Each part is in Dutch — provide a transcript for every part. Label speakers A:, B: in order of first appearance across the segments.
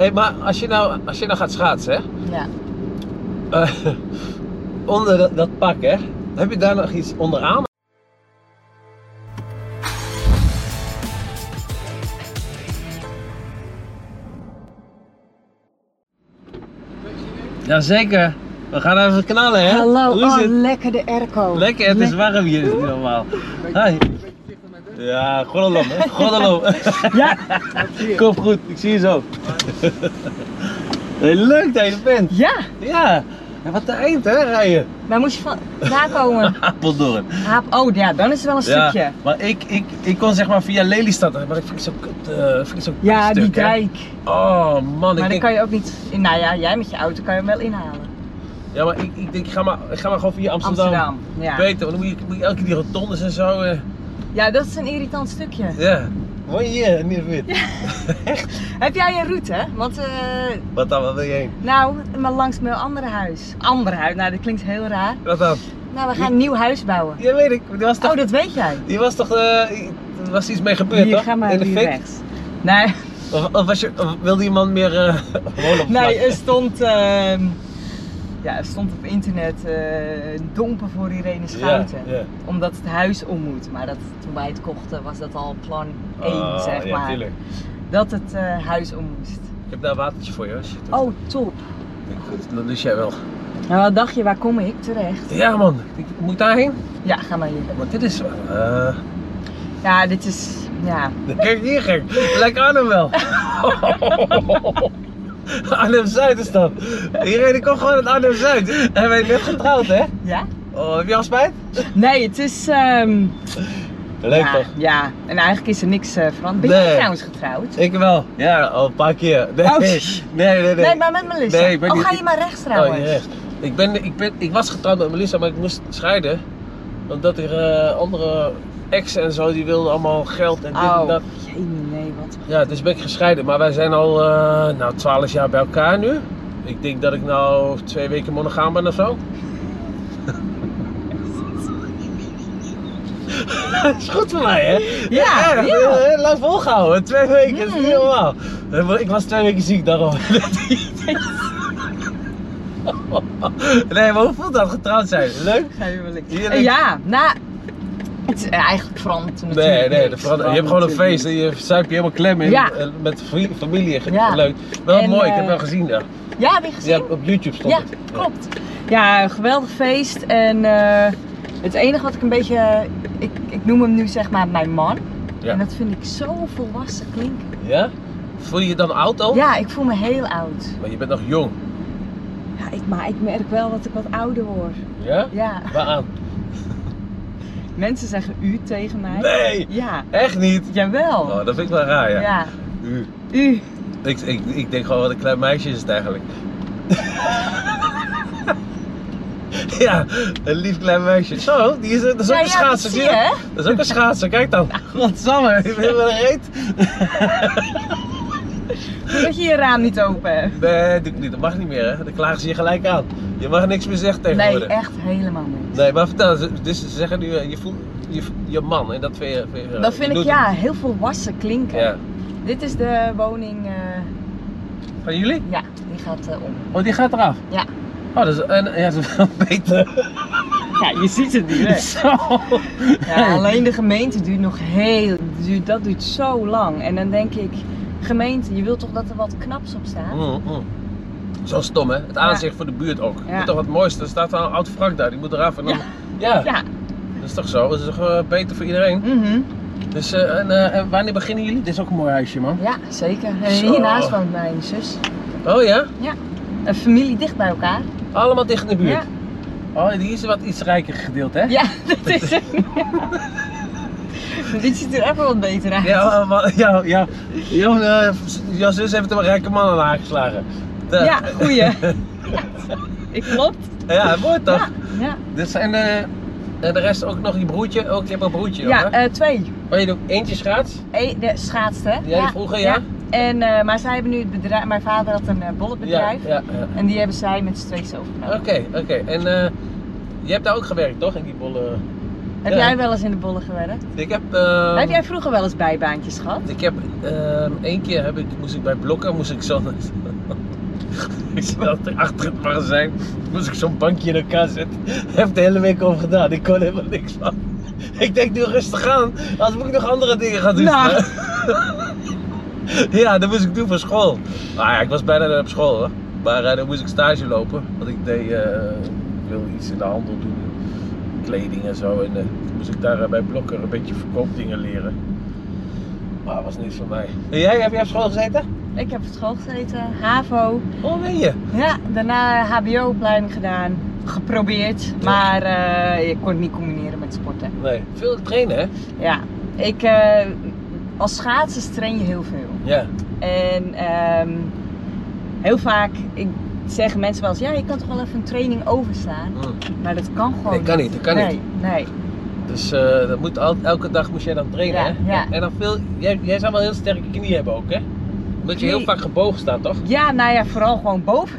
A: Hé, maar als je, nou, als je nou gaat schaatsen, hè?
B: Ja.
A: Eh, onder dat, dat pak, hè? Heb je daar nog iets onderaan? Jazeker, we gaan nou even knallen, hè?
B: Hallo,
A: Hoe is
B: oh,
A: het?
B: lekker de airco.
A: Lekker, het is warm hier, is het niet normaal. Hi. Ja, goddelom, hè? Goddelom.
B: Ja,
A: Kom goed, ik zie je zo. Hey, leuk dat je er bent.
B: ja.
A: Ja, en wat een eind hè, rijden.
B: Waar moest je van daar komen?
A: Apeldoorn.
B: Haap, oh ja, dan is het wel een stukje.
A: maar ik, ik, ik kon zeg maar via Lelystad, maar ik vind het zo kut, eh, vind het zo kut
B: Ja,
A: stuk,
B: die
A: hè.
B: dijk.
A: Oh man,
B: Maar
A: ik
B: dan
A: denk,
B: kan je ook niet. in- Nou ja, jij met je auto kan je hem wel inhalen.
A: ja, maar ik, ik denk, ga maar, ik ga maar gewoon via Amsterdam.
B: Amsterdam. Ja.
A: Beter, want dan moet je, moet je elke keer die rotondes en zo. eh,
B: ja, dat is een irritant stukje.
A: ja. Mooi hier, niet wit.
B: Heb jij een route? Want, eh,
A: Wat dan, wat wil je heen?
B: nou, maar langs mijn andere huis. Ander huis, nou dat klinkt heel raar.
A: Wat dan?
B: Nou, we gaan een nieuw huis bouwen.
A: Ja, weet ik, die was toch,
B: Oh, dat weet jij.
A: die was toch, eh, er was iets mee gebeurd
B: Hier,
A: toch?
B: ga maar
A: In de
B: hier
A: fik?
B: rechts. Nee.
A: Of, of was je, of wilde iemand meer eh gewoon op
B: Nee,
A: vlak?
B: er stond, ehm, ja, er stond op internet eh domper voor Irene Schouten.
A: Ja, ja.
B: Omdat het huis om moet. Maar dat, toen wij het kochten was dat al plan 1,
A: Ah,
B: zeg
A: ja,
B: maar.
A: tuurlijk.
B: dat het eh, huis om moest.
A: Ik heb daar een watertje voor je. Als je het
B: Oh, top.
A: Goed, dat lust jij wel.
B: Nou, wat dacht je, waar kom ik terecht?
A: Ja man, ik moet ik daarheen?
B: Ja, ga maar hier.
A: Want dit is... eh
B: Ja, dit is, ja.
A: kijk hier gek, lijkt Arnhem wel. Arnhem-Zuid is dat. Iedereen komt gewoon uit Arnhem-Zuid. En wij net getrouwd hè?
B: Ja?
A: Oh, heb je al spijt?
B: Nee, het is, ehm,
A: Leuk
B: ja,
A: toch?
B: ja. En eigenlijk is er niks eh, veranderd. Ben
A: Nee.
B: jij trouwens getrouwd?
A: Ik wel. Ja, al een paar keer. Nee,
B: Oh,
A: nee,
B: shh.
A: nee. nee.
B: Nee, maar met Melissa.
A: Nee, ik ben
B: oh,
A: niet-
B: ga je maar rechts
A: Oh,
B: trouwens?
A: jezus. ik, ben, ik, ben, ik was getrouwd met Melissa, maar ik moest scheiden. Omdat er eh, andere ex en zo, die wilden allemaal geld en dit en
B: Oh,
A: dat.
B: jee, nee, wat
A: Ja, dus ben ik gescheiden. Maar wij zijn al eh nou, 12 jaar bij elkaar nu. Ik denk dat ik nou twee weken monogaam ben of zo. Dat is goed voor mij, hè?
B: Ja,
A: Erg,
B: ja.
A: heel- heel eh, lang volgehouden. Twee weken, dat is niet
B: Mm.
A: normaal. Eh, maar Ik was twee weken ziek, daarom. nee, maar hoe voelt dat getrouwd zijn? Leuk?
B: Gruwelijk.
A: Heerlijk.
B: Ja, nou, het is eh, eigenlijk veranderd natuurlijk
A: Nee, nee,
B: niks.
A: dat verandert- je hebt gewoon een
B: Verandert
A: feest en je zuip je helemaal klem in
B: Ja.
A: eh, met vrienden, familie. Ge-
B: Ja.
A: Leuk. Wel
B: En,
A: mooi, ik heb
B: eh,
A: wel gezien. Ja.
B: natuurlijk. Ja, heb je
A: Ja,
B: gezien?
A: op YouTube stond
B: Ja,
A: het.
B: klopt. Ja, een geweldig feest en eh, het enige wat ik een beetje, eh, ik, ik noem hem nu zeg maar mijn man.
A: Ja.
B: En dat vind ik zo volwassen klinken.
A: Ja? Voel je je dan oud al?
B: Ja, ik voel me heel oud.
A: Maar je bent nog jong.
B: Ja, ik, maar ik merk wel dat ik wat ouder word.
A: Ja?
B: Ja,
A: Waaraan?
B: mensen zeggen u tegen mij.
A: Nee!
B: Ja,
A: Echt niet!
B: jawel.
A: Oh, dat vind ik wel raar, ja.
B: ja.
A: U.
B: U.
A: Ik, ik, ik denk gewoon wat een klein meisje is het eigenlijk. ja, een lief klein meisje. Zo, die is, dat is ook
B: Ja,
A: een
B: ja, dat
A: schaatser.
B: zie
A: zie je
B: je,
A: dat? Dat is ook een schaatser, kijk dan. Godsamme, ik ben wel een reet.
B: Dat je je raam niet open hebt.
A: Nee, doe ik niet. dat mag niet meer hè. Dan klagen ze je gelijk aan. Je mag niks meer zeggen tegenwoordig.
B: Nee, echt helemaal niet.
A: Nee, maar vertel, ze- dus ze zeggen nu, eh, je voelt je, je man en dat vind je... Vind je-
B: Dat
A: je
B: vind ik
A: doet
B: ja,
A: het.
B: heel volwassen klinken.
A: Ja.
B: Dit is de woning, eh,
A: Van jullie?
B: ja, die gaat eh, om.
A: Oh, die gaat eraf?
B: Ja.
A: Oh, dat is, en, ja, dat is wel beter.
B: Ja, je ziet het
A: Zo.
B: Ja, alleen de gemeente duurt nog heel, duurt, dat duurt zo lang. En dan denk ik, gemeente, je wilt toch dat er wat knaps op staat?
A: Mm, mm. Zo stom, hè? Het aanzicht voor de buurt ook.
B: Ja.
A: Moet toch wat moois, er staat al een oud wrak daar, die moet eraf en dan... Ja.
B: Ja,
A: dat is toch zo? Dat is toch eh, beter voor iedereen?
B: mhm.
A: Dus, eh, en, eh, en wanneer beginnen jullie? Dit is ook een mooi huisje, man.
B: ja zeker. En
A: Zo.
B: hiernaast woont mijn zus.
A: Oh ja?
B: Een familie dicht bij elkaar.
A: Allemaal dicht in de buurt?
B: Ja,
A: Oh, die is wat iets rijker gedeeld, hè?
B: ja dat is het. Dit ziet er even wat beter uit.
A: Ja, eh, wa- ja, ja. Jouw, eh, jouw zus heeft een rijke man aan aangeslagen. De-
B: Ja, goeie. Ja. Ik klopt.
A: Ja, mooi toch?
B: Ja, ja.
A: Dit zijn de, en de rest ook nog je broertje. Ook, je hebt een broertje,
B: ja
A: hoor.
B: eh, twee.
A: Maar je doet eentje schaats.
B: E- de schaatste, hè?
A: Jij vroeger, ja?
B: En, eh, maar zij hebben nu het bedrijf, mijn vader had een eh, bollenbedrijf.
A: Ja, ja, ja.
B: En die hebben zij met z'n tweeën overgenomen.
A: Oké, oké. En eh, je hebt daar ook gewerkt, toch? In die bolle...
B: Heb
A: Ja.
B: jij wel eens in de bollen gewerkt?
A: Ik heb, ehm,
B: Heb jij vroeger wel eens bijbaantjes gehad?
A: ik heb ehm, één keer heb ik, moest ik bij Blokker, moest ik zo'n... ik zat achter het magazijn, moest ik zo'n bankje in elkaar zetten. Heb de hele week over gedaan, ik kon helemaal niks van. Ik denk nu rustig aan, anders moet ik nog andere dingen gaan doen.
B: Nou.
A: ja, dat moest ik doen voor school. Nou ja, ik was bijna net op school hoor. Maar eh, dan moest ik stage lopen, want ik deed, eh, ik wilde iets in de handel doen. Kleding en zo. En eh, toen moest ik daar eh, bij Blokker een beetje verkoopdingen leren. Maar dat was niet voor mij. En jij, heb jij op school gezeten?
B: Ik heb op school gezeten, HAVO.
A: Oh, ben je?
B: Ja, daarna HBO-opleiding gedaan. Geprobeerd, maar eh, ik kon het niet combineren met sporten.
A: Nee. Veel trainen, hè?
B: Ja, ik, eh, als schaatsers train je heel veel.
A: Ja.
B: En ehm, heel vaak ik, zeggen mensen wel eens, ja, je kan toch wel even een training overslaan.
A: Mm.
B: Maar dat kan gewoon
A: Nee, kan niet, dat kan
B: nee,
A: niet.
B: Nee,
A: Dus eh, dat moet al, elke dag moest jij dan trainen,
B: Ja,
A: hè?
B: ja.
A: En dan veel, jij, jij zou wel heel sterke knieën hebben ook, hè? Omdat je heel
B: Knie-
A: vaak gebogen staat, toch?
B: Ja, nou ja, vooral gewoon boven.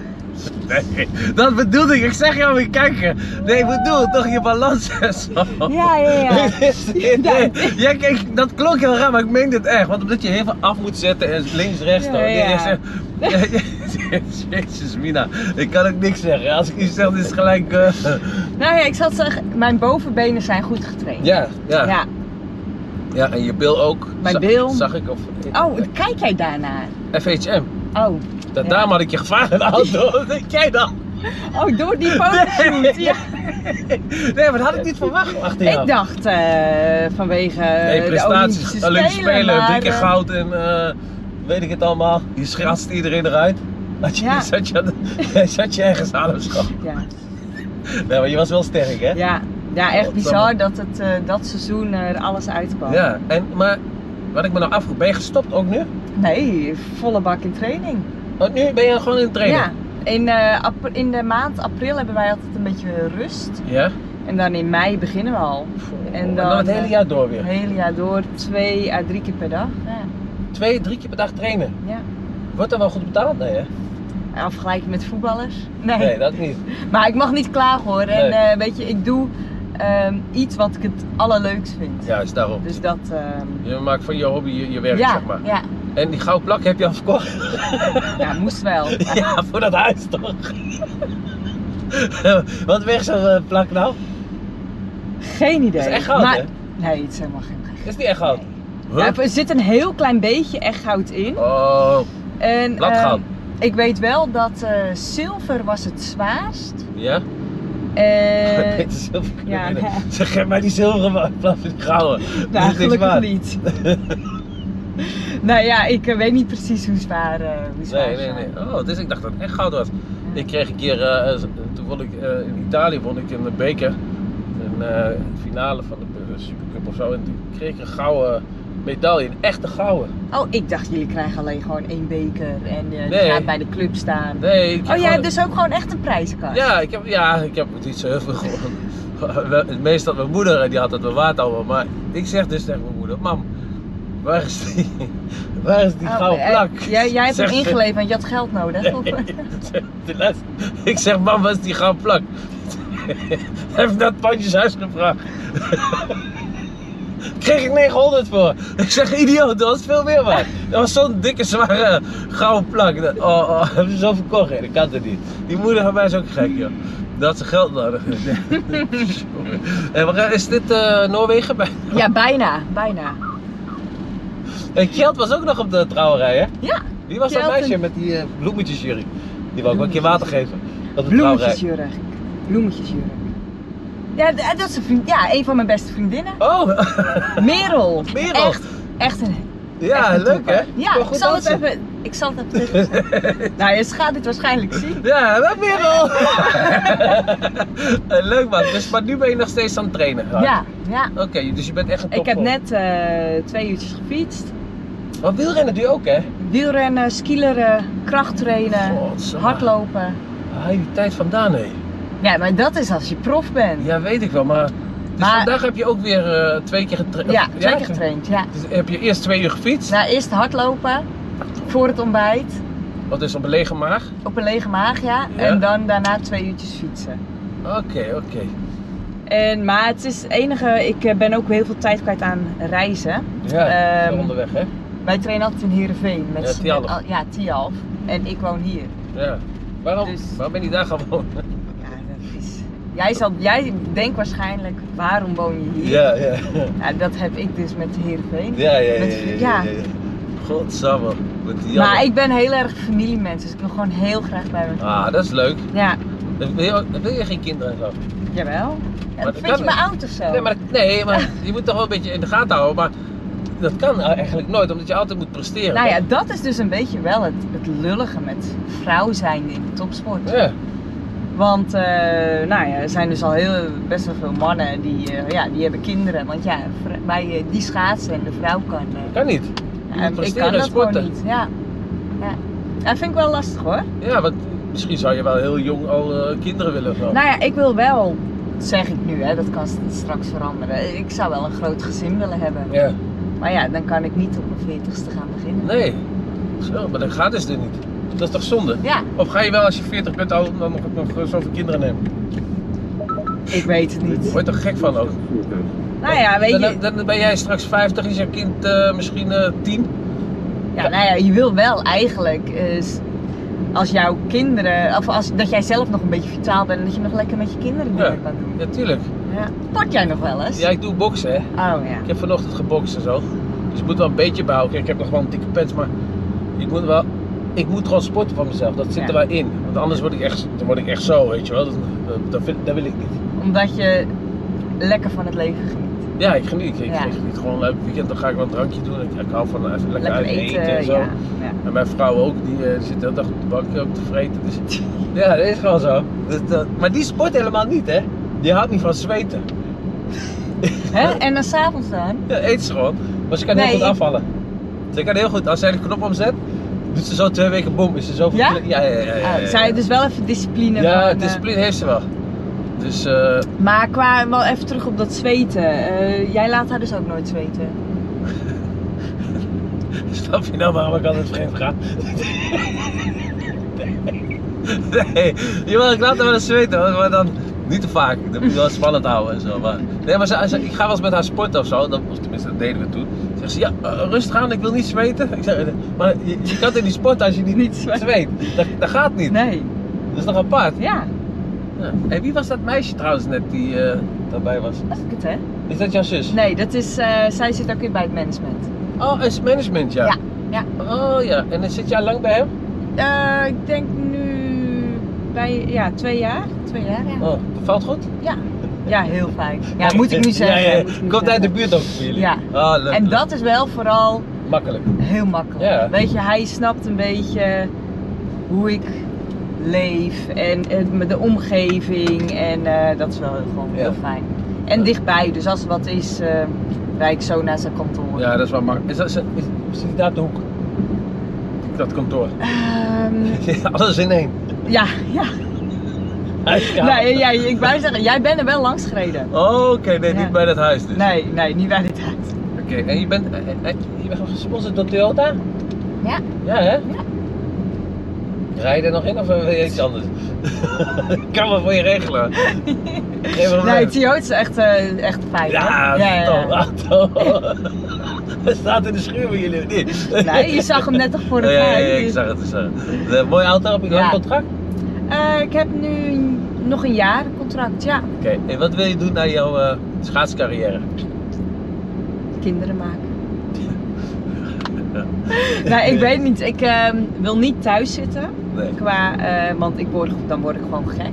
A: Nee, dat bedoel ik. Ik zeg jou weer kijken. Nee, ik bedoel toch je balans en zo.
B: Ja, ja, ja.
A: Nee, nee. Jij kijkt- dat klonk heel raar, maar ik meen dit echt. Want omdat je heel veel af moet zetten en links, rechts.
B: Ja,
A: dan- nee,
B: ja.
A: jij zegt- Ja, ja. Jezus, Mina. Ik kan ook niks zeggen. Als ik iets zeg, dan is het gelijk... eh,
B: Nou ja, ik zal zeggen, mijn bovenbenen zijn goed getraind.
A: ja, ja, ja.
B: ja.
A: en je bil ook.
B: Mijn
A: Za-
B: bil.
A: Zag ik. Of,
B: Oh, kijk jij daarnaar?
A: FHM.
B: Oh,
A: Da
B: Ja.
A: Daarom had ik je gevraagd in de auto. Wat denk jij dan?
B: oh door die fotoshoot. Ja.
A: Nee, maar dat had ik niet verwacht achter jou.
B: Ik dacht eh, vanwege
A: Nee,
B: de
A: prestaties,
B: Olympische
A: Olympische, Spelen,
B: maar,
A: drie keer
B: eh,
A: goud en eh, weet ik het allemaal. Je schatst iedereen eruit. Had je,
B: Ja.
A: zat, je, aan- zat je ergens aan of zo?
B: ja.
A: Nee, maar je was wel sterk, hè?
B: Ja, ja echt
A: Wat
B: bizar dat het eh, dat seizoen er alles uitkwam.
A: Ja, en, maar wat ik me nou afvroeg, ben je gestopt ook nu?
B: Nee, volle bak in training.
A: Want nu ben je gewoon in het trainen.
B: Ja, in, eh, ap- in de maand april hebben wij altijd een beetje rust.
A: Ja?
B: En dan in mei beginnen we al.
A: En dan,
B: dan,
A: het hele
B: eh,
A: jaar door weer.
B: Het hele jaar door, twee à drie keer per dag. Ja.
A: Twee, drie keer per dag trainen.
B: ja.
A: Wordt dat wel goed betaald? Nee, hè?
B: En vergelijking met voetballers. Nee.
A: Nee, dat niet.
B: Maar ik mag niet klagen hoor. En
A: Nee.
B: eh, weet je, ik doe ehm, iets wat ik het allerleukst vind.
A: Juist, daarom.
B: Dus dat. ehm,
A: Je maakt van je hobby je, je werk,
B: ja,
A: zeg maar.
B: ja,
A: En die gouden plak heb je al verkocht.
B: ja, moest wel.
A: Ja, voor dat huis toch? Wat weegt zo'n eh, plak nou?
B: Geen idee.
A: Het is echt goud,
B: maar,
A: hè?
B: Nee, het is helemaal geen goud.
A: Het is niet echt goud.
B: Nee. Ja, er zit een heel klein beetje echt goud in.
A: Oh,
B: En,
A: Laat
B: ehm,
A: gaan.
B: ik weet wel dat eh, zilver was het zwaarst.
A: ja?
B: Eh,
A: Dit is zilver kunnen
B: ja,
A: winnen.
B: ja.
A: Zeg, geef mij die zilveren maar in plaats van die gouden. Dat
B: nou,
A: is niks
B: gelukkig
A: waard.
B: niet. nou ja, ik eh, weet niet precies hoe zwaar, eh hoe zwaar
A: Nee, nee,
B: ze
A: nee.
B: zijn.
A: Oh, dus ik dacht dat het echt goud was.
B: Ja.
A: Ik kreeg een keer, eh, eh, toen won ik, eh, in Italië won ik een beker. Een eh, finale van de eh, Supercup of zo. En toen kreeg ik een gouden medaille, een echte gouden.
B: Oh, ik dacht jullie krijgen alleen gewoon één beker en eh die
A: Nee.
B: gaat bij de club staan.
A: Nee, ik
B: Oh,
A: kreeg
B: jij
A: gewoon-
B: hebt dus ook gewoon echt een prijzenkast? Oh,
A: Ja, ik heb, ja, ik heb niet zo heel veel gewonnen. We- Meestal mijn moeder, eh, die had het bewaard allemaal. Maar ik zeg dus tegen mijn moeder, mam, waar is die, waar is die
B: Oh,
A: gouden
B: eh,
A: plak?
B: jij, jij hebt hem
A: Zegt ze-
B: ingeleverd, want je had geld nodig. of-
A: De les- Ik zeg, mam, waar is die gouden plak? Heb ik naar het pandjeshuis gevraagd. Kreeg ik 900 voor. Ik zeg, idioot, dat was veel meer waard. Dat was zo'n dikke, zware gouden plak. Dat- Oh, oh, hebben ze zo verkocht? hè? dat kan toch niet. Die moeder van mij is ook gek, joh. Dat had ze geld nodig. en is dit eh, Noorwegen? Bij?
B: Ja, bijna, bijna.
A: En Kjeld was ook nog op de trouwerij, hè?
B: Ja,
A: Wie was dat
B: Kjeld en-
A: meisje met die eh, bloemetjesjury? Die wou ik wel een keer water geven. Op de trouwerij.
B: bloemetjesjurk. Bloemetjesjurk. Ja, d- dat is een, vriend, ja, een van mijn beste vriendinnen.
A: Oh,
B: Merel.
A: Merel.
B: Echt, echt een
A: ja,
B: echt een
A: leuk
B: topper.
A: hè?
B: Ja,
A: Wel
B: ik
A: goed
B: zal, het
A: dansen.
B: even, ik zal het even terugzetten. nou, je gaat dit waarschijnlijk zien.
A: Ja, dat weer wel. Eh, leuk man, dus, maar nu ben je nog steeds aan het trainen.
B: Ja,
A: Ralf?
B: ja.
A: Oké, dus je bent echt een
B: Ik heb
A: topvorm.
B: net eh, twee uurtjes gefietst.
A: Maar wielrennen doe je ook hè?
B: Wielrennen, skileren, krachttrainen,
A: Godsamme.
B: hardlopen.
A: Waar haal Ah, je die tijd vandaan hé?
B: Ja, maar dat is als je prof bent.
A: Ja, weet ik wel, maar... Dus
B: Maar-
A: vandaag heb je ook weer eh, twee keer getraind.
B: Ja, twee keer getraind, ja.
A: Dus heb je eerst twee uur gefietst,
B: Nou, eerst hardlopen voor het ontbijt
A: wat is op een lege maag.
B: op een lege maag, ja.
A: Ja.
B: En dan daarna twee uurtjes fietsen.
A: Oké, oké.
B: En, maar het is het enige, ik eh, ben ook heel veel tijd kwijt aan reizen.
A: Ja,
B: Ehm,
A: onderweg hè?
B: Wij trainen altijd in Heerenveen. Met
A: Ja,
B: z'n-
A: Tialf.
B: al- Ja, Tialf. En ik woon hier.
A: Ja. Waarom?
B: dus-
A: Waarom ben je daar gaan wonen?
B: Ja, dat is... Jij, zal, jij denkt waarschijnlijk, waarom woon je hier?
A: Ja, ja.
B: Nou, dat heb ik dus met Heerenveen.
A: Ja, ja, ja.
B: Met-
A: ja, ja, ja. Godsamme, wat die
B: Maar
A: jammer.
B: ik ben heel erg familiemens, dus ik wil gewoon heel graag bij mijn
A: Ah, dat is leuk.
B: Ja,
A: Dan wil je, ook- dan wil je geen kinderen en zo.
B: jawel.
A: dat
B: Ja, vind
A: kan
B: je me
A: niet.
B: oud of zo?
A: Nee, maar, dat- nee, maar je moet toch wel een beetje in de gaten houden. Maar dat kan eigenlijk nooit, omdat je altijd moet presteren.
B: Nou ja, dat is dus een beetje wel het, het lullige met vrouw zijn in de topsport.
A: Ja,
B: Want eh, nou ja, er zijn dus al heel, best wel veel mannen die, eh, ja, die hebben kinderen. Want ja, vr- bij eh, die schaatsen en de vrouw kan. eh,
A: dat kan niet. Je
B: ja,
A: moet
B: ik
A: presteren
B: kan
A: en
B: dat gewoon
A: sporten.
B: niet. Ja. ja. Dat vind ik wel lastig hoor.
A: Ja, want misschien zou je wel heel jong al eh, kinderen willen. of zo.
B: Nou ja, ik wil wel, zeg ik nu, hè, dat kan st- straks veranderen. Ik zou wel een groot gezin willen hebben.
A: Ja.
B: Maar ja, dan kan ik niet op mijn veertigste gaan beginnen.
A: Nee. Zo, maar dat gaat dus dit niet. Dat is toch zonde?
B: Ja,
A: Of ga je wel als je 40 bent al dan nog, nog zoveel kinderen nemen?
B: ik weet het
A: Daar
B: niet.
A: word je toch gek van ook?
B: Nou ja, weet
A: Dan,
B: je,
A: dan ben jij straks 50, is je kind eh, misschien eh 10.
B: ja, nou ja, je wil wel eigenlijk, eh, s- als jouw kinderen, of als, dat jij zelf nog een beetje vitaal bent en dat je nog lekker met je kinderen
A: Ja.
B: dingen kan doen.
A: Ja, tuurlijk.
B: Ja. Pak jij nog wel eens?
A: Ja, ik doe boksen hè.
B: Oh ja.
A: Ik heb vanochtend gebokst en zo. Dus ik moet wel een beetje bouwen. Kijk, ik heb nog wel een dikke pens, maar ik moet wel. Ik moet gewoon sporten van mezelf. Dat zit
B: Ja.
A: er wel in. Want anders word ik echt, dan word ik echt zo, weet je wel. Dat, dat, dat vind- dat wil ik niet.
B: Omdat je lekker van het leven geniet.
A: Ja, ik geniet. Ik,
B: Ja.
A: ik geniet gewoon een leuk weekend. Dan ga ik wel een drankje doen. Ik, ik hou van eh, even lekker,
B: Lekker
A: uit
B: eten,
A: eten, en zo.
B: ja. ja.
A: En mijn vrouw ook, die eh, zit de hele dag op de bank ook te vreten. Dus, ja, dat is gewoon zo. Dus dat- maar die sport helemaal niet, hè? Die houdt niet van zweten.
B: Hè? En dan s'avonds dan?
A: Ja, eet ze gewoon. Maar ze kan heel
B: Nee,
A: goed
B: ik-
A: afvallen. Ze kan heel goed, als zij de knop omzet, doet ze zo twee weken boom. Is ze zo
B: Ja?
A: Ja, ja, ja. ja, ja,
B: Ah, Zij dus wel even discipline.
A: Eh, Ja,
B: van, eh,
A: discipline heeft ze wel. Dus eh,
B: Maar qua, wel even terug op dat zweten. Eh, jij laat haar dus ook nooit zweten.
A: snap je nou waarom ik altijd vreemd ga? nee, jawel, ik laat haar wel eens zweten, hoor, maar dan niet te vaak. Dan moet je wel spannend houden en zo. Maar, nee, maar ze, ze- ik ga wel eens met haar sporten of zo, dat, of tenminste dat deden we toen. Zegt ze, ja, eh, rustig aan, ik wil niet zweten. Ik zeg, maar je, je kan toch niet sporten als je niet,
B: Niet zweet.
A: zweet? Dat, dat gaat niet.
B: Nee.
A: Dat is nog apart.
B: Ja,
A: Ja. En wie was dat meisje trouwens net die eh, daarbij was?
B: dat is het hè?
A: Is dat jouw zus?
B: Nee, dat is, eh, zij zit ook weer bij het management.
A: Oh, is management, ja.
B: Ja, ja.
A: Oh ja, en dan zit jij lang bij hem?
B: Eh, ik denk nu bij, ja, twee jaar. Twee jaar, ja.
A: Oh, dat valt goed?
B: Ja, ja heel fijn. Ja, moet ik nu zeggen.
A: Ja, ja.
B: moet ik nu
A: Komt uit de
B: zeggen.
A: buurt ook voor jullie?
B: Ja.
A: Ah, leuk.
B: En dat is wel vooral
A: Makkelijk.
B: heel makkelijk.
A: Ja.
B: Weet je, hij snapt een beetje hoe ik leef en eh, met de omgeving en eh, dat is wel heel- gewoon
A: Ja.
B: heel fijn. En dichtbij, dus als er wat is, eh rijd ik zo naar zijn kantoor.
A: Ja, dat is wel makkelijk. Is dat, is, is, zit hij daar op de hoek? Dat kantoor.
B: Ehm,
A: Alles in één.
B: ja, ja.
A: Hij is kaal.
B: Nee, ja, ik wou zeggen, jij bent er wel langs gereden.
A: Oh, Oké, nee,
B: Ja.
A: niet bij dat huis dus.
B: Nee, nee, niet bij dit huis.
A: Oké, en je bent, eh, eh, je bent gesponsord door Toyota?
B: Ja.
A: Ja, hè?
B: Ja.
A: Rij je er nog in of eh, wil je iets anders? Ik kan wel voor je regelen. Geen probleem.
B: Nee, Toyota is echt, eh, echt fijn.
A: ja,
B: hoor. ja,
A: Tom,
B: ja.
A: ah, Tom. Hij staat in de schuur bij jullie, of niet?
B: Nee, je zag hem net toch voor de
A: Ja, ja, ja,
B: tijd.
A: ik zag het. Ik zag het. De mooie auto, heb je lang
B: Ja.
A: contract?
B: Eh, ik heb nu nog een jaar contract, ja.
A: Oké, en wat wil je doen na jouw eh, schaatscarrière?
B: Kinderen maken. nou, ik weet niet. Ik ehm, wil niet thuis zitten.
A: Nee.
B: Qua, eh, want ik word, dan word ik gewoon gek.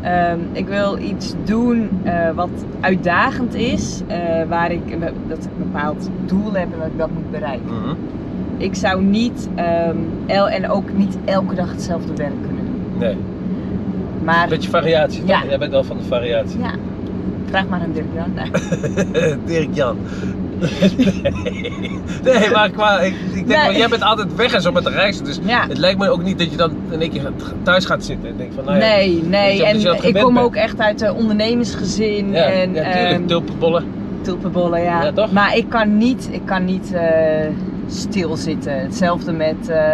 B: Ehm, ik wil iets doen eh, wat uitdagend is. eh, waar ik, een be- dat ik een bepaald doel heb en dat ik dat moet bereiken.
A: Mhm.
B: Ik zou niet, ehm, el, en ook niet elke dag hetzelfde werk kunnen doen.
A: Nee,
B: Maar,
A: een beetje variatie. toch?
B: Ja.
A: Jij bent wel van de variatie.
B: ja. Vraag maar aan Dirk Jan.
A: Nou
B: Nee.
A: Dirk Jan. nee. nee, maar qua, ik, ik denk
B: Nee.
A: wel, jij bent altijd weg en zo met de reizen. Dus
B: Ja.
A: het lijkt me ook niet dat je dan in één keer gaat- thuis gaat zitten. En denk van, nou ja,
B: Nee,
A: Weet je,
B: nee.
A: omdat je dat
B: En ik
A: gewend
B: kom
A: bent.
B: ook echt uit een ondernemersgezin.
A: ja,
B: en,
A: ja, tuurlijk,
B: ehm,
A: tulpenbollen.
B: tulpenbollen, ja.
A: Ja, toch?
B: Maar ik kan niet, ik kan niet eh, stilzitten. Hetzelfde met eh,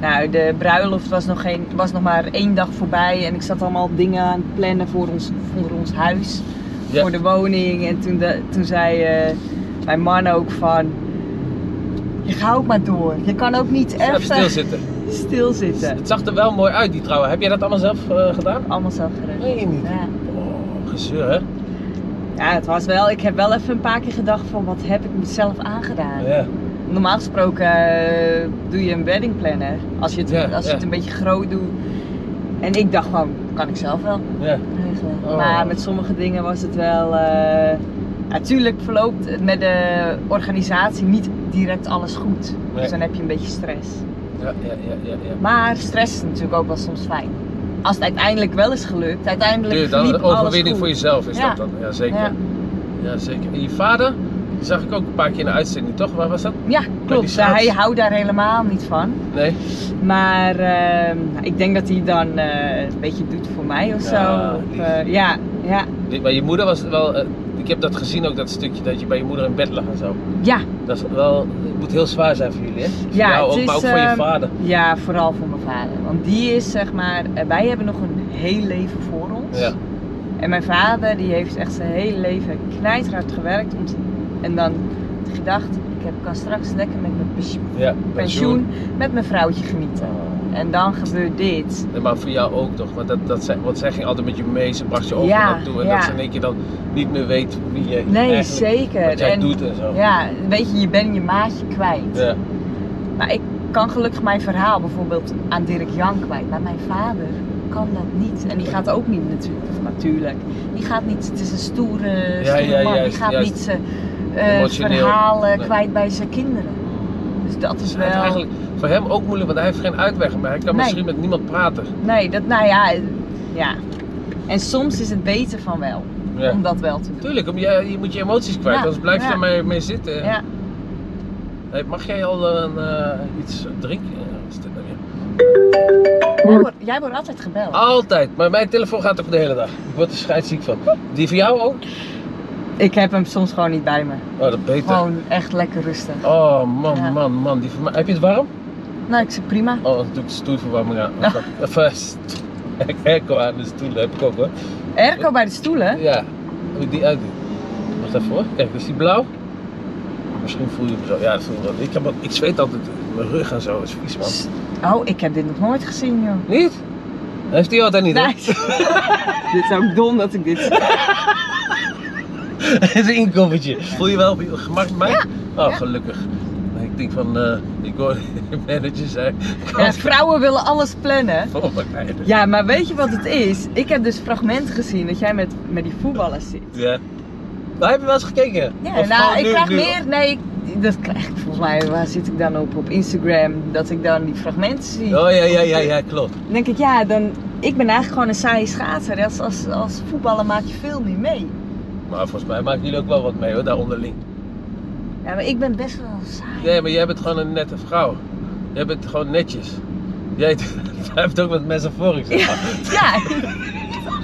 B: Nou, de bruiloft was nog, geen, was nog maar één dag voorbij en ik zat allemaal dingen aan het plannen voor ons, voor ons huis,
A: Ja.
B: voor de woning. En toen, de- toen zei eh, mijn man ook van, je gaat ook maar door. Je kan ook niet
A: Even
B: echt
A: stilzitten.
B: stilzitten.
A: Het zag er wel mooi uit, die trouwen. Heb jij dat allemaal zelf eh, gedaan?
B: Allemaal zelfgerust.
A: Meen je niet?
B: Ja.
A: Oh, gezeur hè?
B: ja, het was wel, ik heb wel even een paar keer gedacht van, wat heb ik mezelf aangedaan?
A: Ja.
B: Normaal gesproken eh, doe je een wedding planner. Als je het,
A: Ja,
B: als je
A: ja.
B: het een beetje groot doet. En ik dacht gewoon, kan ik zelf wel
A: ja.
B: regelen.
A: Oh.
B: Maar met sommige dingen was het wel. eh, natuurlijk verloopt het met de organisatie niet direct alles goed.
A: Nee.
B: Dus dan heb je een beetje stress.
A: Ja, ja, ja, ja, ja.
B: Maar stress is natuurlijk ook wel soms fijn. Als het uiteindelijk wel is gelukt, uiteindelijk
A: Duur, dan
B: verliep
A: een overwinning
B: alles
A: voor
B: goed.
A: jezelf is
B: Ja.
A: dat dan. Ja, zeker.
B: Ja.
A: Ja. zeker. En je vader, die zag ik ook een paar keer in de uitzending, toch? Waar was dat?
B: Ja, klopt.
A: die zaad-
B: Hij houdt daar helemaal niet van.
A: Nee?
B: Maar ehm, ik denk dat hij dan eh, een beetje doet voor mij of
A: Ja,
B: zo. Of,
A: lief.
B: eh, ja, ja,
A: Die- Maar je moeder was wel... eh, ik heb dat gezien ook, dat stukje dat je bij je moeder in bed lag en zo.
B: ja,
A: Dat is wel... Het moet heel zwaar zijn voor jullie, hè? Voor
B: Ja,
A: jou
B: het
A: ook, maar ook
B: is,
A: voor je
B: ehm,
A: vader.
B: ja, vooral voor mijn vader. Want die is zeg maar, eh, wij hebben nog een heel leven voor ons.
A: Ja.
B: En mijn vader die heeft echt zijn hele leven knijterhard gewerkt. Om te- en dan gedacht, ik heb, kan straks lekker met mijn pens-
A: Ja,
B: pensioen met mijn vrouwtje genieten. En dan gebeurt dit.
A: Nee, maar voor jou ook toch? Want, dat, dat, zij- want zij ging altijd met je mee, ze bracht je over
B: Ja,
A: naartoe. En
B: ja.
A: dat ze in één keer dan niet meer weet wie je
B: Nee,
A: eigenlijk,
B: zeker.
A: wat jij
B: En-
A: doet en zo.
B: Ja, weet je, je bent je maatje kwijt.
A: Ja.
B: Maar ik kan gelukkig mijn verhaal bijvoorbeeld aan Dirk Jan kwijt. Maar mijn vader kan dat niet. En die gaat ook niet natuurlijk. Of natuurlijk. Die gaat niet. Het is een stoere,
A: Ja,
B: stoere
A: ja,
B: man.
A: juist,
B: die gaat
A: juist.
B: niet zijn eh,
A: Emotioneel.
B: verhalen
A: Nee.
B: kwijt bij zijn kinderen. Dus dat is
A: Dus het is
B: wel.
A: eigenlijk voor hem ook moeilijk, want hij heeft geen uitweg maar Hij kan
B: Nee.
A: misschien met niemand praten.
B: Nee, dat nou ja. eh, Ja. En soms is het beter van wel.
A: Ja.
B: Om dat wel te doen.
A: Tuurlijk, om je, je moet je emoties kwijt,
B: Ja,
A: anders blijf je
B: ja.
A: daarmee mee zitten.
B: Ja.
A: Hey, mag jij al een, eh, iets drinken? Ja, wat is dit nou weer?
B: Jij, wordt, jij wordt altijd
A: Ah.
B: gebeld.
A: Altijd, maar mijn telefoon gaat ook de hele dag. Ik word er scheidsziek van. Die van jou ook?
B: Ik heb hem soms gewoon niet bij me.
A: Oh, dat beter.
B: Gewoon echt lekker rustig.
A: Oh man,
B: Ja.
A: man, man. Die van mij. Heb je het warm?
B: Nou, ik zeg prima.
A: Oh, dan doe ik de stoelverwarming aan. Of eh, st- airco aan de stoel heb ik ook hoor.
B: Erko bij de stoelen.
A: Ja, hoe die uitdoet. Wacht even hoor. Kijk, is die blauw? Misschien voel je hem zo. Ja, dat voel je wel. Ik, heb, wat- ik zweet altijd mijn rug en zo. Dat is vies man.
B: Oh, ik heb dit nog nooit gezien, joh.
A: Niet? Heeft hij altijd niet, hè?
B: Nice. dit is ook dom dat ik dit zeg.
A: Het is een inkoppertje. Voel je wel op je gemak bij mij? Oh, gelukkig. Ik denk van, eh, ik hoor de manager zei,
B: Ja, vrouwen willen alles plannen.
A: oh mijn meiden.
B: Ja, maar weet je wat het is? Ik heb dus fragmenten gezien dat jij met, met die voetballers zit.
A: Ja. Maar heb je wel eens gekeken?
B: Ja,
A: Of
B: nou,
A: gewoon
B: ik
A: nu-
B: krijg
A: nu?
B: meer... Nee, ik- dat krijg ik volgens mij. Waar zit ik dan op? Op Instagram. Dat ik dan die fragmenten zie.
A: Oh ja, ja, ja, ja, klopt.
B: Dan denk ik, ja, dan... Ik ben eigenlijk gewoon een saaie schaatser. Als, als, als voetballer maak je veel meer mee.
A: Maar volgens mij maken jullie ook wel wat mee hoor, daar onderling.
B: Ja, maar ik ben best wel saai.
A: Nee, maar jij bent gewoon een nette vrouw. Jij bent gewoon netjes. Jij hebt ook wat metaforisch.
B: Ja.
A: Ja.
B: Ja,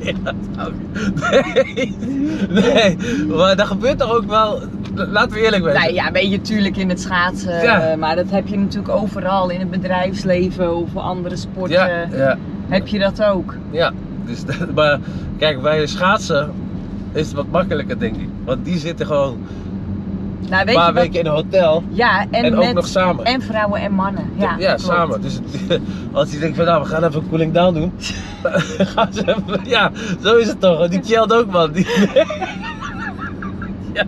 A: Nee, dat zou ik- nee. nee, maar dat gebeurt toch ook wel. Laten we eerlijk zijn.
B: Nou ja, weet je, tuurlijk in het schaatsen.
A: Ja.
B: eh, Maar dat heb je natuurlijk overal. In het bedrijfsleven of andere sporten
A: ja, ja,
B: heb je dat ook.
A: ja. Dus, dat- maar kijk, bij schaatsen is het wat makkelijker, denk ik. Want die zitten gewoon
B: Nou,
A: een
B: weet je
A: paar
B: wat-
A: weken in een hotel
B: Ja, en,
A: en, ook
B: met,
A: nog samen.
B: en vrouwen en mannen. Ja, klopt.
A: samen. Dus het- als die denkt van nou, we gaan even een cooling down doen. gaan ze even, ja, zo is het toch. Want Die chillt ook man. Die, ja,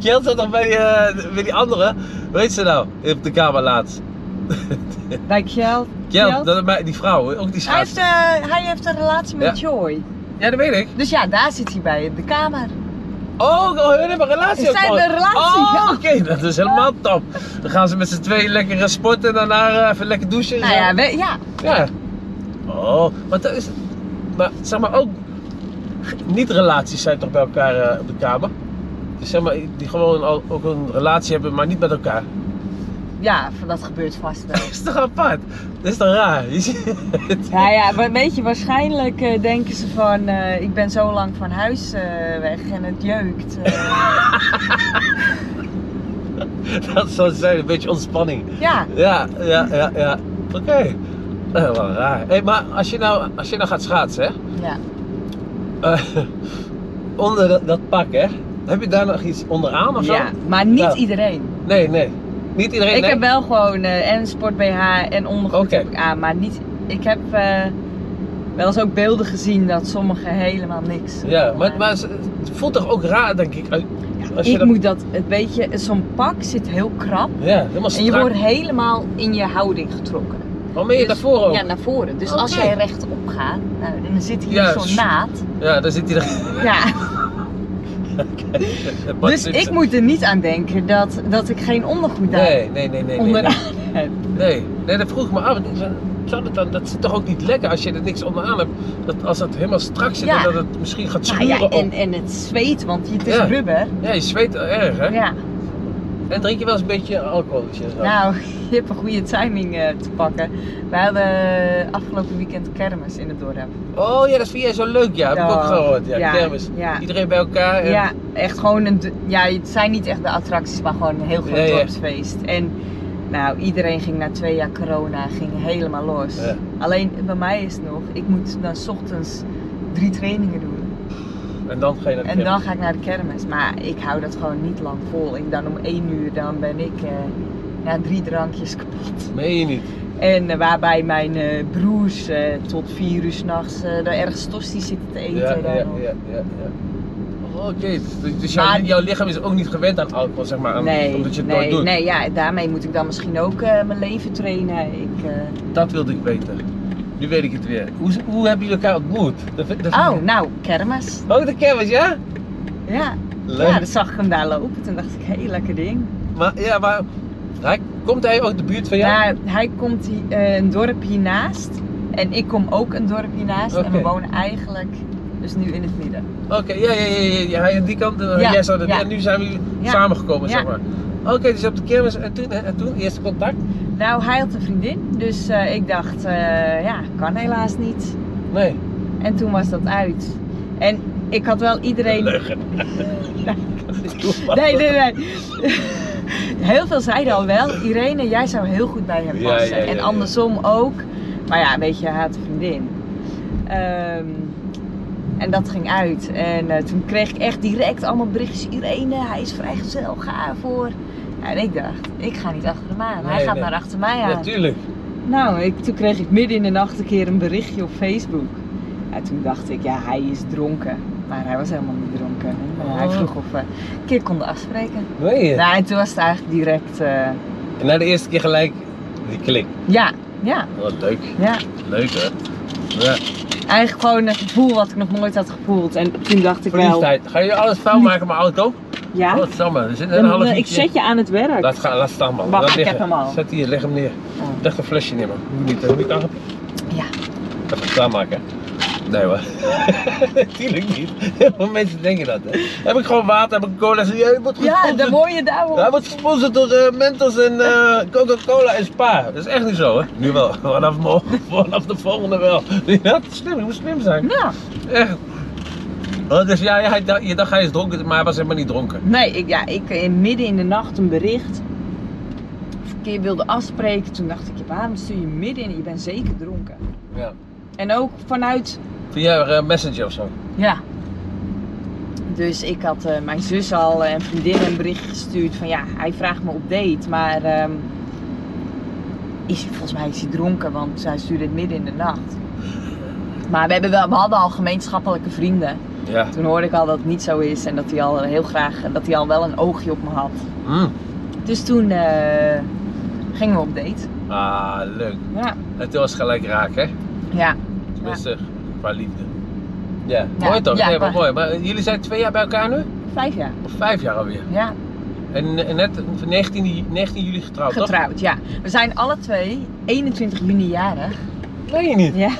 A: chillt zat nog bij die, eh, bij die andere. Weet ze nou, op de kamer laatst.
B: Bij Kjeld.
A: Kjeld, dat is mij- die vrouw, ook die
B: Hij,
A: schaats.
B: heeft, eh, hij heeft een relatie met Joy.
A: Ja, dat weet ik.
B: Dus ja, daar zit hij bij in de kamer.
A: Oh, oh, hun hebben een relatie
B: Ze
A: ook
B: zijn
A: gewoon.
B: een relatie,
A: Oh,
B: ja.
A: oké, dat is helemaal top. Dan gaan ze met z'n tweeën lekker eh, sporten en daarna eh, even lekker douchen. en
B: Nou
A: zo.
B: ja, we- ja.
A: Ja. Oh, maar dat is. Maar zeg maar ook. Niet-relaties zijn toch bij elkaar eh, op de kamer? Dus zeg maar, die gewoon al, ook een relatie hebben, maar niet met elkaar.
B: ja, dat gebeurt vast wel.
A: Dat is toch apart? Dat is toch raar? Je ziet-
B: Nou ja, wa- weet je, waarschijnlijk eh, denken ze van, eh, ik ben zo lang van huis eh, weg en het jeukt. eh.
A: dat zou zijn, een beetje ontspanning.
B: Ja,
A: Ja, ja, ja, ja. Oké. Eh, wel raar. Hé, maar als je, nou, als je nou gaat schaatsen, hè?
B: ja.
A: Eh, onder dat, dat pak, hè? Heb je daar nog iets onderaan of zo?
B: ja. maar niet
A: Nou.
B: iedereen.
A: Nee, nee. Niet iedereen.
B: ik
A: nee?
B: heb wel gewoon eh, en sport BH en ondergoed
A: Oké.
B: heb ik aan, maar niet. Ik heb eh, wel eens ook beelden gezien dat sommigen helemaal niks.
A: Ja, maar,
B: aan.
A: maar ze- het voelt toch ook raar, denk ik. uit- Als je
B: ik
A: dat-
B: moet dat, het weet je, zo'n pak zit heel krap.
A: Ja, helemaal
B: En je
A: strak.
B: wordt helemaal in je houding getrokken.
A: Waarom ben je
B: dus-
A: daarvoor ook?
B: Ja,
A: Ja,
B: naar voren. Dus als
A: Oké.
B: jij rechtop gaat, nou, en dan zit hier
A: Ja,
B: zo'n
A: s-
B: naad.
A: daar zit hij er.
B: Ja.
A: Bart
B: Dus
A: Simpson.
B: ik moet er niet aan denken dat, dat ik geen ondergoed daar
A: Nee, nee, nee, nee. nee,
B: onderaan heb.
A: Nee, nee, dat vroeg ik me af. Zou dat, dan, dat zit toch ook niet lekker als je er niks onderaan hebt? Dat als het helemaal strak zit
B: Ja.
A: en dat het misschien gaat
B: Nou
A: schuren.
B: ja, en,
A: ook.
B: en het zweet, want het is
A: Ja.
B: rubber.
A: ja je zweet erg, hè?
B: Ja,
A: En drink je wel eens een beetje alcoholtje? en zo?
B: nou, je hebt een goede timing eh, te pakken. We hadden afgelopen weekend kermis in het dorp.
A: Oh ja, dat vind jij zo leuk, ja. Heb ik ook
B: Dag.
A: gehoord. Ja,
B: Ja,
A: kermis.
B: ja.
A: Iedereen bij elkaar. En...
B: Ja, echt gewoon een. d- Ja, het zijn niet echt de attracties, maar gewoon een heel groot
A: Ja, ja.
B: dorpsfeest. En nou, iedereen ging na twee jaar corona ging helemaal los.
A: Ja.
B: Alleen bij mij is het nog, ik moet dan 's ochtends drie trainingen doen.
A: en dan ga je naar de
B: En dan ga ik naar de kermis. Maar ik hou dat gewoon niet lang vol. Ik dan om één uur dan ben ik eh, na drie drankjes kapot.
A: kermis. Meen je niet?
B: En eh, waarbij mijn eh, broers eh, tot vier uur s'nachts eh daar ergens tosti's zitten te eten.
A: ja, ja,
B: dan
A: ja,
B: nog.
A: ja, ja. Oh, Oké, dus- dus jouw,
B: Maar-
A: jouw lichaam is ook niet gewend aan alcohol, zeg maar, aan- omdat je het
B: nee,
A: nooit doet.
B: Nee, ja, daarmee moet ik dan misschien ook eh, mijn leven trainen. Ik, eh,
A: Dat wilde ik weten. Nu weet ik het weer. Hoe, hoe hebben jullie elkaar ontmoet? Dat vind- dat vind-
B: Oh, nou, kermis.
A: Oh, de kermis, ja?
B: Ja.
A: Leuk.
B: ja, dan zag ik hem daar lopen. Toen dacht ik, hé, lekker ding.
A: Maar, ja, maar hij, komt hij ook de buurt van jou?
B: Nou, hij komt hi- eh, een dorp hiernaast. En ik kom ook een dorp hiernaast. En we
A: Oké.
B: wonen eigenlijk dus nu in het midden.
A: Oké, ja, ja, ja, ja, ja, hij aan die kant en
B: Ja,
A: jij zou dat.
B: ja.
A: En nu zijn we
B: Ja.
A: samengekomen,
B: Ja.
A: zeg maar. Oké, dus op de kermis en toen, en toen eerste contact?
B: Nou, hij had een vriendin. Dus eh, ik dacht, eh, ja, kan helaas niet.
A: Nee.
B: En toen was dat uit. En ik had wel iedereen...
A: Leugen.
B: Nee, nee, nee. Heel veel zeiden al wel, Irene, jij zou heel goed bij hem
A: Ja,
B: passen.
A: ja, ja,
B: en
A: ja.
B: andersom ook. Maar ja, weet je, hij had een vriendin. Ehm, en dat ging uit. En eh, toen kreeg ik echt direct allemaal berichtjes. Irene, hij is vrijgezel, ga ervoor. Ja, en ik dacht, ik ga niet achter hem aan. hij
A: Nee,
B: gaat
A: nee.
B: maar achter mij aan.
A: Natuurlijk.
B: nou, ik, toen kreeg ik midden in de nacht een keer een berichtje op Facebook. En toen dacht ik, ja, hij is dronken. Maar hij was helemaal niet dronken. En, eh, Hij
A: Oh.
B: vroeg of we een keer konden afspreken.
A: Meen je?
B: Nou, en toen was het eigenlijk direct. eh,
A: En na de eerste keer gelijk die klik.
B: ja, ja,
A: Wat leuk.
B: ja.
A: Leuk hè? Ja.
B: Eigenlijk gewoon een gevoel wat ik nog nooit had gevoeld. En toen dacht ik wel.
A: Verliefdheid. Ga je alles vuil maken met mijn auto?
B: Ja,
A: Wat jammer. Er zit een
B: dan,
A: half
B: eh, ik
A: uurtje in.
B: zet je aan het werk.
A: Laat, gaan, laat staan man. laat
B: Wacht, ik heb
A: liggen.
B: hem al.
A: Zet hier, leg hem neer.
B: Oh,
A: Leg een flesje neer man. Moet niet, hè? moet je het aan-
B: ja.
A: Even klaarmaken. Nee hoor. Natuurlijk niet. Heel veel mensen denken dat. Hè. Heb ik gewoon water, heb ik cola. Zeg, Ja, je wordt
B: ja,
A: gesponsord.
B: daar word je daar
A: Hij wordt gesponsord door eh, Mentos en eh, Coca-Cola en Spa. Dat is echt niet zo hè. Nu wel. Vanaf, morgen, vanaf de volgende wel. Nee, dat is slim. Je moet slim zijn.
B: Ja.
A: Echt. Eh. Oh, dus ja, ja, hij dacht- je dacht hij is dronken, maar hij was helemaal niet dronken.
B: Nee, ik, ja, ik eh, midden in de nacht een bericht. Of een keer wilde afspreken. Toen dacht ik, ja, waarom stuur je midden in? Je bent zeker dronken.
A: Ja.
B: En ook vanuit.
A: Via eh, Messenger of zo.
B: Ja. Dus ik had eh, mijn zus al eh, en vriendin een bericht gestuurd van ja, hij vraagt me op date, maar ehm, is hij, volgens mij is hij dronken, want zij stuurde het midden in de nacht. Maar we, hebben wel, we hadden al gemeenschappelijke vrienden.
A: Ja.
B: Toen hoorde ik al dat het niet zo is en dat hij al heel graag, dat hij al wel een oogje op me had.
A: Mm.
B: Dus toen eh, gingen we op date.
A: Ah, leuk.
B: Ja,
A: Het was gelijk raak hè.
B: ja.
A: Tenminste, qua liefde. Ja,
B: Ja,
A: mooi toch?
B: ja,
A: nee, maar
B: qua-
A: mooi. Maar eh, jullie zijn twee jaar bij elkaar nu?
B: vijf jaar.
A: Of vijf jaar alweer?
B: Ja,
A: En, eh, net van 19, 19 juli getrouwd,
B: getrouwd, ja. We zijn alle twee 21 juni jarig.
A: toch? Nee, niet.
B: Ja,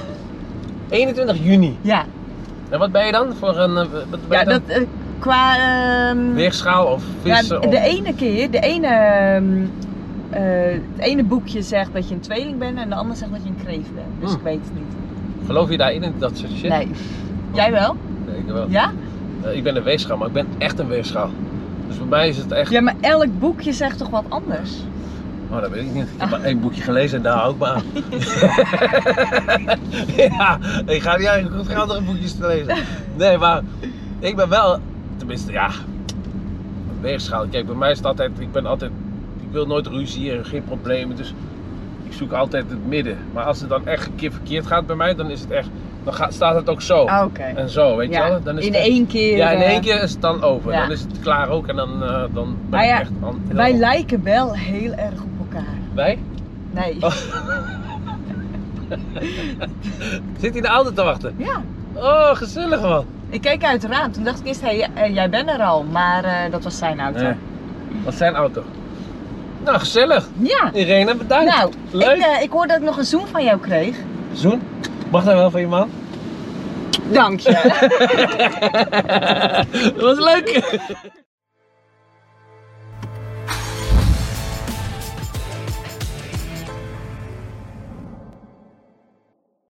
A: 21 juni.
B: ja.
A: En wat ben je dan voor een... eh, Wat ben
B: Ja,
A: je dan?
B: dat eh, qua. ehm,
A: Weegschaal of
B: ja,
A: vissen
B: de
A: of...
B: ene keer, de ene, ehm, eh, het ene boekje zegt dat je een tweeling bent en de ander zegt dat je een kreeft bent. Dus
A: Hm.
B: ik weet het niet.
A: Geloof je daarin in dat soort shit?
B: Nee. Jij wel?
A: Nee, ik wel.
B: Ja?
A: Eh, Ik ben een weegschaal, maar ik ben echt een weegschaal. Dus bij mij is het echt.
B: Ja, maar elk boekje zegt toch wat anders?
A: Oh, dat weet ik niet. Ik heb maar één boekje gelezen en daar hou ik me aan. ja, ik ga niet eigenlijk goed gaan andere boekjes te lezen. Nee, maar ik ben wel, tenminste, ja, een weegschaal. Kijk, bij mij is het altijd, ik ben altijd, ik wil nooit ruzie en geen problemen. Dus ik zoek altijd het midden. Maar als het dan echt een keer verkeerd gaat bij mij, dan is het echt, dan gaat, staat het ook zo.
B: Ah, Oké.
A: En zo, Oh. Eh, weet je
B: Ja,
A: wel? Dan is
B: in
A: het echt-
B: één keer.
A: Ja, in
B: eh,
A: één keer is het dan over.
B: ja.
A: Dan is het klaar ook en dan, eh, dan ben
B: Ah,
A: ik
B: ja,
A: echt aan.
B: Wij lijken wel heel erg op elkaar.
A: Wij?
B: Nee.
A: Oh. Zit hij in de auto te wachten?
B: Ja.
A: Oh, gezellig man.
B: Ik keek uit het raam. Toen dacht ik eerst, hé, eh, jij bent er al. Maar eh, dat was zijn auto.
A: Nee. Wat zijn auto? Nou, gezellig.
B: Ja.
A: Irene, bedankt.
B: Nou,
A: Leuk.
B: ik, eh, ik hoorde dat ik nog een zoen van jou kreeg.
A: Zoen, mag dat wel van je man?
B: Dank je.
A: Dat was leuk.